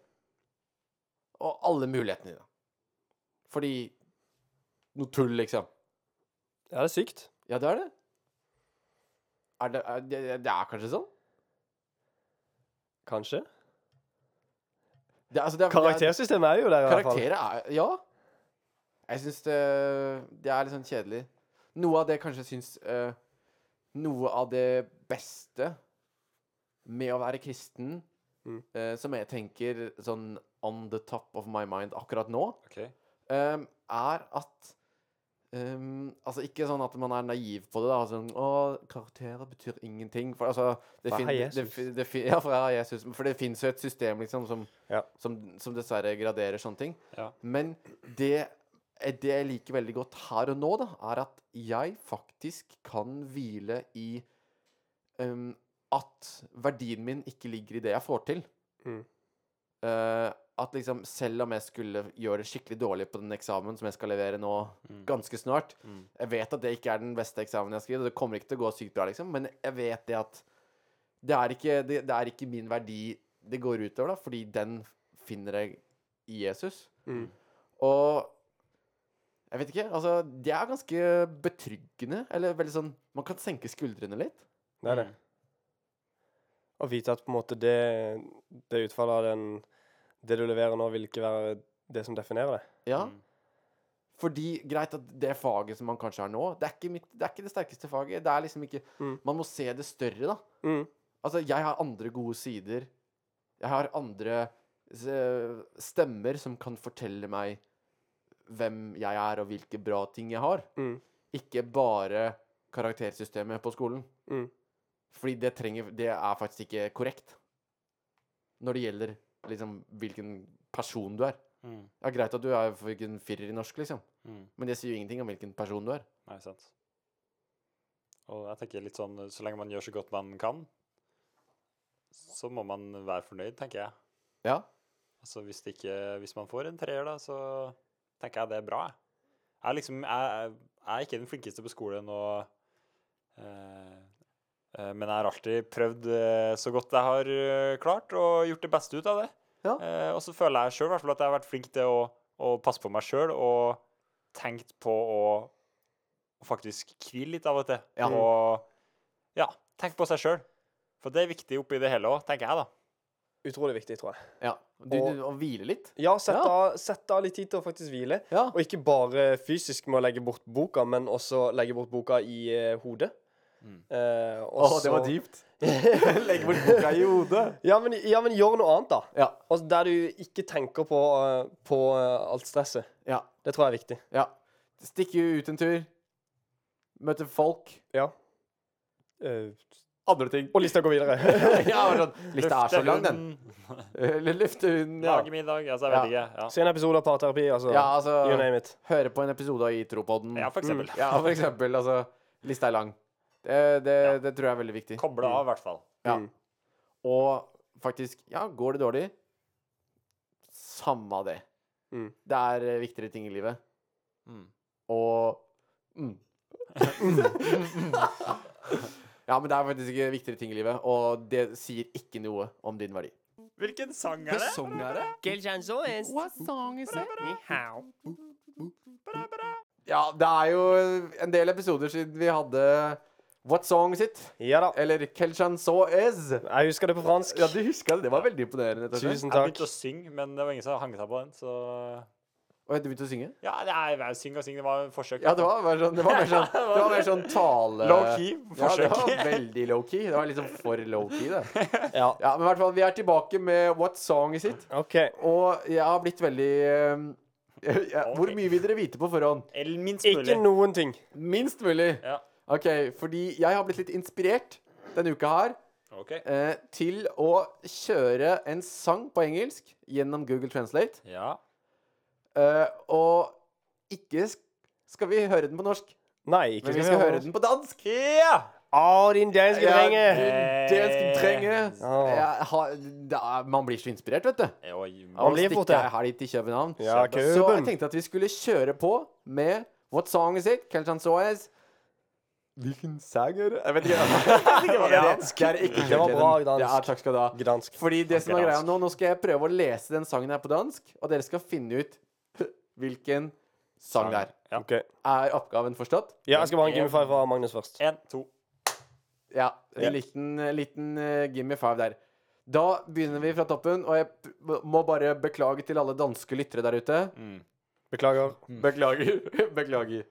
[SPEAKER 1] Og alle mulighetene dine. Fordi Noe tull, liksom.
[SPEAKER 3] Ja, det er sykt.
[SPEAKER 1] Ja, det er det. Er det, er, det, det er kanskje sånn?
[SPEAKER 3] Kanskje.
[SPEAKER 1] Det, er- altså, det er, det er-
[SPEAKER 3] Karaktersystemet er jo der, i hvert fall.
[SPEAKER 1] Karakterer er Ja. Jeg syns det, det er litt sånn kjedelig. Noe av det jeg kanskje syns eh, Noe av det beste med å være kristen,
[SPEAKER 3] Mm.
[SPEAKER 1] eh, som jeg tenker sånn on the top of my mind akkurat nå,
[SPEAKER 2] Ok.
[SPEAKER 1] ehm, er at ehm, Altså ikke sånn at man er naiv på det. da sånn, Å, karakterer betyr ingenting. For altså det
[SPEAKER 3] Fra
[SPEAKER 1] fin-
[SPEAKER 3] Jesus.
[SPEAKER 1] Det, fi- det, fi- ja, fra Jesus. For det fins jo et system liksom som,
[SPEAKER 3] Ja.
[SPEAKER 1] som, som dessverre graderer sånne ting.
[SPEAKER 2] Ja.
[SPEAKER 1] Men det, eh, det jeg liker veldig godt her og nå, da, er at jeg faktisk kan hvile i ehm, at verdien min ikke ligger i det jeg får til.
[SPEAKER 3] Mm.
[SPEAKER 1] Eh, at liksom, selv om jeg skulle gjøre det skikkelig dårlig på den eksamen som jeg skal levere nå ganske snart
[SPEAKER 2] Mm.
[SPEAKER 1] Jeg vet at det ikke er den beste eksamen jeg har skrevet, og det kommer ikke til å gå sykt bra, liksom, men jeg vet det at det er ikke, det, det er ikke min verdi det går utover, da, fordi den finner jeg i Jesus.
[SPEAKER 3] Mm.
[SPEAKER 1] Og jeg vet ikke, altså Det er ganske betryggende. Eller veldig sånn Man kan senke skuldrene litt.
[SPEAKER 3] Det er det.
[SPEAKER 1] Mm.
[SPEAKER 3] Å vite at på en måte det, det utfallet av den Det du leverer nå, vil ikke være det som definerer det.
[SPEAKER 1] Ja.
[SPEAKER 2] Mm.
[SPEAKER 1] Fordi greit at det faget som man kanskje har nå, det er ikke, mitt, det, er ikke det sterkeste faget. Det er liksom ikke
[SPEAKER 3] Mm.
[SPEAKER 1] Man må se det større, da.
[SPEAKER 3] Mm.
[SPEAKER 1] Altså, jeg har andre gode sider. Jeg har andre s- eh, stemmer som kan fortelle meg hvem jeg er, og hvilke bra ting jeg har.
[SPEAKER 3] Mm.
[SPEAKER 1] Ikke bare karaktersystemet på skolen.
[SPEAKER 3] Mm.
[SPEAKER 1] Fordi det, trenger, det er faktisk ikke korrekt når det gjelder liksom, hvilken person du er.
[SPEAKER 2] Mm.
[SPEAKER 1] Det er greit at du er for en firer i norsk, liksom,
[SPEAKER 2] Mm.
[SPEAKER 1] men det sier jo ingenting om hvilken person du er.
[SPEAKER 2] Nei, sant. Og jeg tenker litt sånn, så lenge man gjør så godt man kan, så må man være fornøyd, tenker jeg.
[SPEAKER 1] Ja,
[SPEAKER 2] Altså hvis, det ikke, hvis man får en treer, da, så tenker jeg det er bra. jeg. Jeg er, liksom, jeg, jeg er ikke den flinkeste på skolen, og, eh, eh, men jeg har alltid prøvd eh, så godt jeg har eh, klart, og gjort det beste ut av det.
[SPEAKER 1] Ja.
[SPEAKER 2] Eh, og så føler jeg sjøl at jeg har vært flink til å, å passe på meg sjøl og tenkt på å faktisk hvile litt av og til.
[SPEAKER 1] Ja.
[SPEAKER 2] Og ja, tenke på seg sjøl. For det er viktig oppi det hele òg, tenker jeg, da.
[SPEAKER 3] Utrolig viktig, tror jeg.
[SPEAKER 1] ja. Du, du, og hvile litt.
[SPEAKER 3] Ja, sett,
[SPEAKER 1] Ja.
[SPEAKER 3] Av, sett av litt tid til å faktisk hvile.
[SPEAKER 1] Ja.
[SPEAKER 3] Og ikke bare fysisk med å legge bort boka, men også legge bort boka i eh, hodet.
[SPEAKER 1] Mm.
[SPEAKER 3] Eh, og så-
[SPEAKER 1] dypt. Legg bort boka i hodet.
[SPEAKER 3] Ja men, ja, men gjør noe annet, da.
[SPEAKER 1] Ja.
[SPEAKER 3] Altså, der du ikke tenker på, eh, på eh, alt stresset.
[SPEAKER 1] Ja.
[SPEAKER 3] Det tror jeg er viktig.
[SPEAKER 1] ja. Stikke ut en tur. Møte folk.
[SPEAKER 3] Ja. Eh,
[SPEAKER 1] Andre ting.
[SPEAKER 3] og lista går videre.
[SPEAKER 1] ja, men sånn, lista er så
[SPEAKER 2] Løfte
[SPEAKER 1] lang, den.
[SPEAKER 2] hunden,
[SPEAKER 1] Eller lufte hunden, ja.
[SPEAKER 2] Lage middag, altså jeg vet ikke.
[SPEAKER 3] Se en episode av parterapi, altså.
[SPEAKER 1] ja.
[SPEAKER 3] You
[SPEAKER 1] Altså,
[SPEAKER 3] name it.
[SPEAKER 1] høre på en episode av Itropodden.
[SPEAKER 2] Ja, ja for eksempel.
[SPEAKER 1] Ja, for eksempel. Altså, lista er lang. Det, det, det tror jeg er veldig viktig.
[SPEAKER 2] Koble av, i hvert fall.
[SPEAKER 1] Ja.
[SPEAKER 3] Mm.
[SPEAKER 1] Og faktisk, ja, går det dårlig, samme av det.
[SPEAKER 3] Mm.
[SPEAKER 1] Det er eh, viktigere ting i livet.
[SPEAKER 2] Mm.
[SPEAKER 1] Og mm. Ja, men det er faktisk ikke viktigere ting i livet, og det sier ikke noe om din verdi.
[SPEAKER 2] Hvilken sang er det?
[SPEAKER 1] Ja, det er jo en del episoder siden vi hadde What Song sitt,
[SPEAKER 3] Ja da.
[SPEAKER 1] eller Kelchan So Is.
[SPEAKER 3] Jeg husker det på fransk.
[SPEAKER 1] Ja, du huska det. Det var veldig imponerende. rett og slett.
[SPEAKER 3] Tusen
[SPEAKER 2] Jeg
[SPEAKER 3] takk.
[SPEAKER 2] begynte å synge, men det var ingen som hang seg på den, så
[SPEAKER 1] Og du begynte å synge?
[SPEAKER 2] Ja, det er jeg syng og syng, det var et forsøk.
[SPEAKER 1] Ja, det var, bare sånn, det var mer sånn, det var mer sånn tale...
[SPEAKER 2] Low-key
[SPEAKER 1] Ja, det
[SPEAKER 2] forsøk.
[SPEAKER 1] var veldig low-key. Det var liksom for low-key, det.
[SPEAKER 3] Ja.
[SPEAKER 1] Ja, men i hvert fall, vi er tilbake med What Song Is It?
[SPEAKER 3] OK.
[SPEAKER 1] Og jeg har blitt veldig eh, ja, Hvor mye vil dere vite på forhånd?
[SPEAKER 2] Eller minst
[SPEAKER 3] Ikke
[SPEAKER 2] mulig.
[SPEAKER 3] noen ting.
[SPEAKER 1] Minst mulig.
[SPEAKER 2] Ja.
[SPEAKER 1] OK, fordi jeg har blitt litt inspirert denne uka her
[SPEAKER 2] OK.
[SPEAKER 1] eh, til å kjøre en sang på engelsk gjennom Google Translate.
[SPEAKER 2] Ja.
[SPEAKER 1] Eh, og ikke sk- skal vi høre den på norsk,
[SPEAKER 3] Nei, ikke
[SPEAKER 1] men vi skal høre den på dansk.
[SPEAKER 2] Ja!
[SPEAKER 3] Å, din danske
[SPEAKER 1] Ja,
[SPEAKER 3] drenge!
[SPEAKER 1] det- det jeg trenger.
[SPEAKER 3] Ja.
[SPEAKER 1] Jeg har- det er- Man blir så inspirert, vet du.
[SPEAKER 2] Jo,
[SPEAKER 1] Av å
[SPEAKER 3] blir fort
[SPEAKER 1] stikke
[SPEAKER 3] det.
[SPEAKER 1] ei helg til København.
[SPEAKER 3] Ja,
[SPEAKER 1] Så jeg
[SPEAKER 3] Køben.
[SPEAKER 1] tenkte at vi skulle kjøre på med What song is it? Kelchan Soez.
[SPEAKER 4] Hvilken sang er det? Jeg vet ikke.
[SPEAKER 1] Ja, det er ikke
[SPEAKER 3] Det var
[SPEAKER 1] Køben.
[SPEAKER 3] bra dansk.
[SPEAKER 1] Ja, takk skal du ha.
[SPEAKER 3] Gdansk.
[SPEAKER 1] Fordi det som er
[SPEAKER 2] Akkurat.
[SPEAKER 1] greia nå, nå skal jeg prøve å lese den sangen her på dansk, og dere skal finne ut hvilken sang det er.
[SPEAKER 2] Ja.
[SPEAKER 3] Ok.
[SPEAKER 1] Er oppgaven forstått?
[SPEAKER 3] Ja, jeg skal bare ha en gimme five fra Magnus først.
[SPEAKER 2] En, to.
[SPEAKER 1] Ja. En liten, liten eh, gimme five der. Da begynner vi fra toppen, og jeg p- må bare beklage til alle danske lyttere der ute.
[SPEAKER 2] Mm.
[SPEAKER 3] Beklager.
[SPEAKER 1] Beklager. Beklager.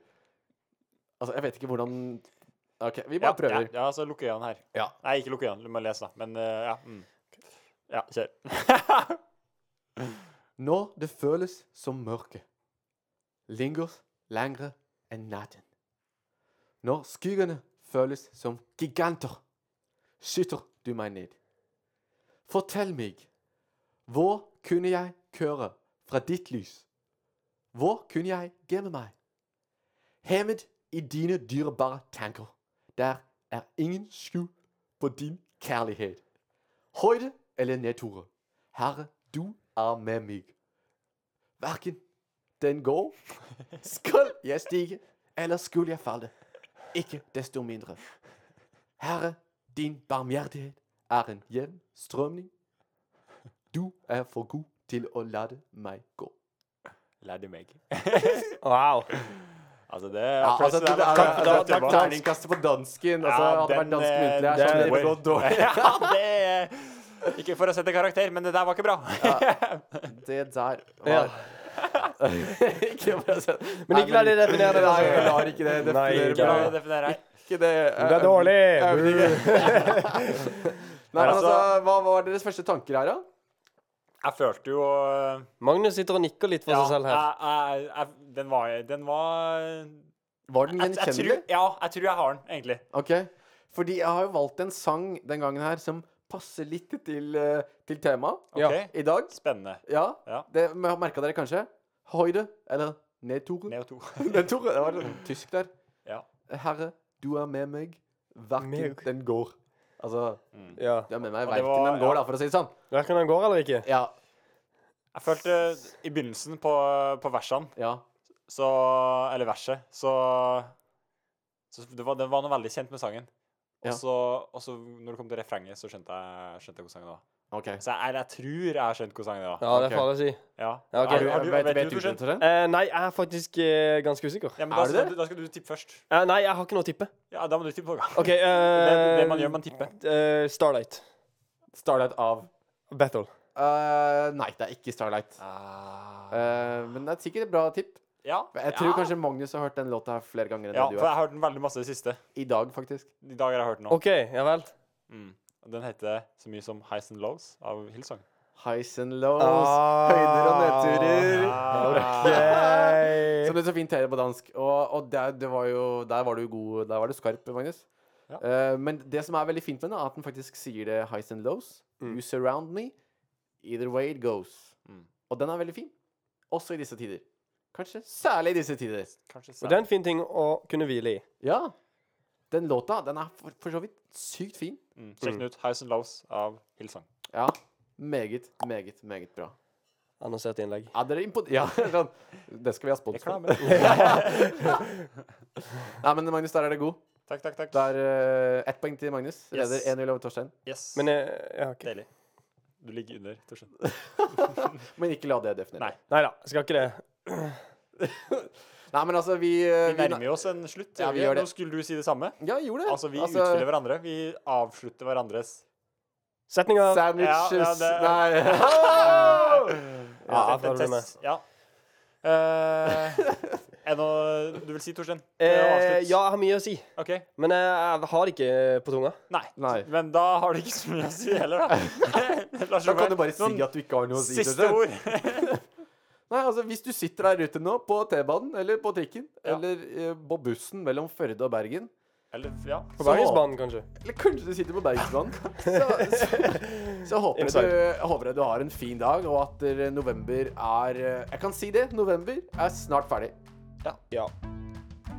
[SPEAKER 1] Altså, jeg vet ikke hvordan OK, vi bare
[SPEAKER 2] Ja,
[SPEAKER 1] prøver.
[SPEAKER 2] Ja, ja, så lukker øynene her.
[SPEAKER 1] Ja.
[SPEAKER 2] Nei, ikke lukk øynene. Du må lese, da. Men eh, ja. Mm. Ja, kjør.
[SPEAKER 1] Når det føles som mørke, linger lengre enn natten. Når skyggene føles som giganter, skyter du meg ned. Fortell meg, hvor kunne jeg køre fra ditt lys? Hvor kunne jeg gjemme meg? Hemmet i dine dyrebare tanker, der er ingen skjul på din kjærlighet. Høyde eller nedture, Herre, du er med meg. Hverken den går, skal jeg stige, eller skulle jeg falle. Ikke desto mindre. Herre, din barmhjertighet er en jevn strømning. Du er for god til å la det meg gå.
[SPEAKER 2] Lær det meg.
[SPEAKER 3] Wow.
[SPEAKER 2] Altså, det er
[SPEAKER 1] Ah,
[SPEAKER 2] applaus til deg, da.
[SPEAKER 3] altså,
[SPEAKER 2] Applaus
[SPEAKER 3] takk,
[SPEAKER 2] tilbake.
[SPEAKER 3] takk.
[SPEAKER 1] Terningkastet på dansken. Altså,
[SPEAKER 2] Ja,
[SPEAKER 1] hadde det vært
[SPEAKER 2] den,
[SPEAKER 1] dansk
[SPEAKER 2] eh,
[SPEAKER 1] muntlig her, så
[SPEAKER 2] den
[SPEAKER 1] hadde det
[SPEAKER 2] er
[SPEAKER 1] gått dårlig.
[SPEAKER 2] Ja, det er Ikke for å sette karakter, men det der var ikke bra.
[SPEAKER 1] Det der
[SPEAKER 3] Ja.
[SPEAKER 1] var Ikke bare sett.
[SPEAKER 3] Men ikke la det definere deg.
[SPEAKER 1] Nei, jeg lar ikke det
[SPEAKER 3] Nei,
[SPEAKER 1] definere
[SPEAKER 3] ikke
[SPEAKER 2] Bra
[SPEAKER 1] meg.
[SPEAKER 2] å definere her.
[SPEAKER 1] Ikke det.
[SPEAKER 3] Det eh, er dårlig.
[SPEAKER 1] Nei, men
[SPEAKER 2] Altså-
[SPEAKER 1] altså, hva var deres første tanker her, da?
[SPEAKER 2] Jeg følte jo eh,
[SPEAKER 3] Magnus sitter og nikker litt for seg selv her.
[SPEAKER 2] jeg, jeg, jeg, den var, den var
[SPEAKER 1] Var den
[SPEAKER 2] jeg, jeg, tror,
[SPEAKER 1] gjenkjennelig?
[SPEAKER 2] Ja, jeg tror jeg har den, egentlig.
[SPEAKER 1] Ok. Fordi jeg har jo valgt en sang den gangen her som passer litt til, eh, til temaet
[SPEAKER 2] Ok,
[SPEAKER 1] i dag.
[SPEAKER 2] Spennende.
[SPEAKER 1] Ja,
[SPEAKER 2] Ja.
[SPEAKER 1] det merka dere kanskje. Høyde, eller nedtore.
[SPEAKER 2] Neo 2.
[SPEAKER 1] Nedtore, det var litt tysk der.
[SPEAKER 2] Ja.
[SPEAKER 1] Herre, du er med meg, hverken
[SPEAKER 3] Meg.
[SPEAKER 1] den går. Altså,
[SPEAKER 3] Ja.
[SPEAKER 1] du er med meg
[SPEAKER 2] Og det
[SPEAKER 1] hverken
[SPEAKER 2] var-
[SPEAKER 1] den går,
[SPEAKER 2] ja.
[SPEAKER 1] da, for å si det sånn.
[SPEAKER 3] Verken han går eller ikke.
[SPEAKER 1] Ja,
[SPEAKER 2] Jeg følte eh, i begynnelsen på, på versene,
[SPEAKER 1] ja.
[SPEAKER 2] så Eller verset, så, så det, var, det var noe veldig kjent med sangen.
[SPEAKER 1] Ja.
[SPEAKER 2] Og så, og så når det kom til refrenget, så skjønte jeg, skjønte jeg hvor sangen var.
[SPEAKER 1] OK.
[SPEAKER 2] Så jeg, jeg tror jeg har skjønt hvor sangen var.
[SPEAKER 3] Ja, det
[SPEAKER 1] Ok.
[SPEAKER 3] er farlig å si.
[SPEAKER 2] Ja.
[SPEAKER 3] Ja, ok.
[SPEAKER 2] Har
[SPEAKER 1] Du,
[SPEAKER 2] du- har du-
[SPEAKER 1] vet,
[SPEAKER 2] vet
[SPEAKER 1] vet du
[SPEAKER 2] du hvordan?
[SPEAKER 1] det?
[SPEAKER 3] Eh, nei, jeg er faktisk eh, ganske usikker.
[SPEAKER 2] Ja, men
[SPEAKER 1] Er
[SPEAKER 2] da,
[SPEAKER 1] det
[SPEAKER 2] skal
[SPEAKER 1] det?
[SPEAKER 2] du- da skal du tippe først.
[SPEAKER 3] Eh, nei, jeg har ikke noe å tippe.
[SPEAKER 2] Ja, da må du tippe på.
[SPEAKER 3] OK
[SPEAKER 2] Det,
[SPEAKER 3] eh,
[SPEAKER 2] det man gjør, man tipper.
[SPEAKER 3] eh, Starlight.
[SPEAKER 1] Starlight av
[SPEAKER 3] Battle.
[SPEAKER 1] Eh, Nei, det er ikke Starlight.
[SPEAKER 2] Ah.
[SPEAKER 1] Eh, men det er sikkert et bra tipp.
[SPEAKER 2] Ja.
[SPEAKER 1] Jeg tror
[SPEAKER 2] ja.
[SPEAKER 1] kanskje Magnus har hørt den låta her flere ganger enn
[SPEAKER 2] Ja,
[SPEAKER 1] det du
[SPEAKER 2] for jeg
[SPEAKER 1] har.
[SPEAKER 2] har hørt den veldig masse i det siste.
[SPEAKER 1] I dag, faktisk.
[SPEAKER 2] I dag har jeg hørt den nå.
[SPEAKER 3] OK, ja vel.
[SPEAKER 2] Mm. Og Den heter så mye som Highs and Lows av Hillsong.
[SPEAKER 1] Highs and lows,
[SPEAKER 3] Ah.
[SPEAKER 1] høyder og nedturer.
[SPEAKER 2] Ah.
[SPEAKER 3] Ok.
[SPEAKER 1] Som det så fint heter på dansk. Og, og der, det var jo, der var du god. Der var du skarp, Magnus.
[SPEAKER 2] Ja.
[SPEAKER 1] Eh, men det som er veldig fint med den, er at den faktisk sier det highs and lows. You surround me. Either way it goes.
[SPEAKER 2] Mm.
[SPEAKER 1] Og den er veldig fin. Også i disse tider. Kanskje særlig i disse tider.
[SPEAKER 2] Kanskje
[SPEAKER 3] Og det er en fin ting å kunne hvile i.
[SPEAKER 1] Ja. Den låta, den er for, for så vidt sykt fin.
[SPEAKER 2] mm. Sjekk den ut. Highs and Lows av Hillsong.
[SPEAKER 1] Ja. Meget, meget, meget bra.
[SPEAKER 3] Annonsert innlegg.
[SPEAKER 1] Ja, dere er impon- Ja, sånn. Det skal vi ha spons for.
[SPEAKER 2] Reklame.
[SPEAKER 1] Nei, men Magnus, der er det god.
[SPEAKER 2] takk, takk, takk.
[SPEAKER 1] Det er eh, ett poeng til Magnus.
[SPEAKER 2] Yes.
[SPEAKER 1] Leder 1-0 over Torstein.
[SPEAKER 2] Yes.
[SPEAKER 3] Men eh, ja, ok.
[SPEAKER 2] Deilig. Du ligger under, Torstein.
[SPEAKER 1] Eh, Men ikke la det definere.
[SPEAKER 2] Nei.
[SPEAKER 3] Nei da, skal ikke det.
[SPEAKER 1] Nei, men altså, vi eh,
[SPEAKER 2] Vi nærmer jo oss en slutt.
[SPEAKER 1] Ja, vi gjør
[SPEAKER 2] gjør vi.
[SPEAKER 1] det.
[SPEAKER 2] Nå skulle du si det samme.
[SPEAKER 1] Ja, gjorde det.
[SPEAKER 2] Altså, vi utfyller hverandre. Vi avslutter hverandres
[SPEAKER 3] Setninger.
[SPEAKER 1] Sandwiches
[SPEAKER 2] Ja,
[SPEAKER 1] Nei.
[SPEAKER 3] Ja,
[SPEAKER 2] Test,
[SPEAKER 3] jeg følger
[SPEAKER 2] test, Ja. Eh, er det noe du vil si, Torstein? Det er å
[SPEAKER 3] Eh,
[SPEAKER 2] avslutte.
[SPEAKER 3] ja, jeg har mye å si.
[SPEAKER 2] OK.
[SPEAKER 3] Men eh, jeg har det ikke eh, på tunga.
[SPEAKER 2] Nei.
[SPEAKER 1] Nei.
[SPEAKER 2] Men da har du ikke så mye å si heller, da. Lars
[SPEAKER 1] Da kan du
[SPEAKER 2] Robert,
[SPEAKER 1] bare si
[SPEAKER 2] noen
[SPEAKER 1] at du ikke har noe å si.
[SPEAKER 2] Siste
[SPEAKER 1] Torstein.
[SPEAKER 2] ord.
[SPEAKER 1] Nei, altså, Hvis du sitter der ute nå, på T-banen eller på trikken,
[SPEAKER 2] Ja.
[SPEAKER 1] eller eh, på bussen mellom Førde og Bergen
[SPEAKER 2] Eller, ja.
[SPEAKER 3] På Bergensbanen, kanskje.
[SPEAKER 1] Eller kanskje du sitter på Bergensbanen. Så, så, så håper, jeg du, jeg håper jeg du har en fin dag, og at eh, november er eh, Jeg kan si det. November er snart ferdig.
[SPEAKER 3] Ja.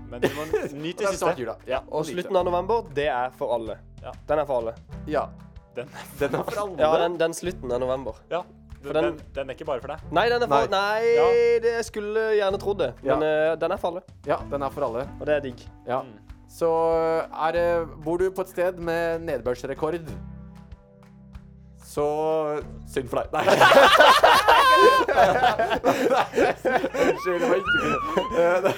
[SPEAKER 2] Men du må nyte
[SPEAKER 1] Det
[SPEAKER 2] det
[SPEAKER 1] er snart
[SPEAKER 2] siste.
[SPEAKER 1] jula.
[SPEAKER 2] Ja,
[SPEAKER 3] Og slutten av november, det er for alle.
[SPEAKER 2] Ja.
[SPEAKER 3] Den er for alle.
[SPEAKER 1] Ja.
[SPEAKER 2] Den,
[SPEAKER 1] Den er for alle.
[SPEAKER 3] Ja, den, den slutten av november.
[SPEAKER 2] ja,
[SPEAKER 3] For
[SPEAKER 2] den,
[SPEAKER 3] den-
[SPEAKER 2] den, den er ikke bare for deg.
[SPEAKER 3] Nei, den er for
[SPEAKER 1] Nei.
[SPEAKER 3] Nei, det jeg skulle gjerne trodd det.
[SPEAKER 1] Ja.
[SPEAKER 3] Men eh, den er for alle,
[SPEAKER 1] Ja, den er for alle.
[SPEAKER 3] og det er digg.
[SPEAKER 1] Ja.
[SPEAKER 2] Mm.
[SPEAKER 1] Så eh, er det Bor du på et sted med nedbørsrekord, så Synd for deg. Nei. Unnskyld, det var ikke fint. Eh, nei.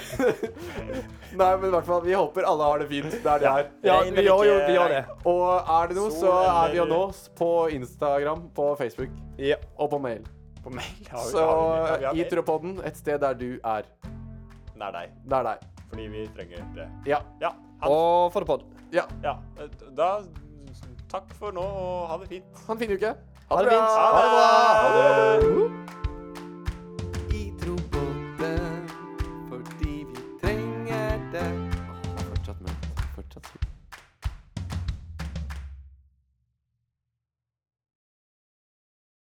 [SPEAKER 1] Nei, men i hvert fall, vi håper alle har det fint der de er.
[SPEAKER 3] Ja,
[SPEAKER 2] Regn
[SPEAKER 3] vi
[SPEAKER 2] eller
[SPEAKER 3] gjør jo
[SPEAKER 2] ikke
[SPEAKER 3] vi gjør det.
[SPEAKER 2] regn.
[SPEAKER 1] Og er det noe, så
[SPEAKER 2] Sol eller-
[SPEAKER 1] er vi å nå oss på Instagram, på Facebook
[SPEAKER 3] Ja.
[SPEAKER 1] og på mail.
[SPEAKER 2] På mail. Har vi-
[SPEAKER 1] Så
[SPEAKER 2] har vi- har vi- har vi-
[SPEAKER 1] Itropodden, et sted der du er.
[SPEAKER 2] Nær deg.
[SPEAKER 1] Det er deg.
[SPEAKER 2] Fordi vi trenger det.
[SPEAKER 1] Ja.
[SPEAKER 2] Ja. Ha det.
[SPEAKER 3] Og for det pod.
[SPEAKER 1] ja.
[SPEAKER 2] Ja. eh, Da Takk for nå, og ha det fint.
[SPEAKER 1] Ha en fin uke.
[SPEAKER 3] Ha det fint.
[SPEAKER 2] Ha det bra.
[SPEAKER 1] Ha det.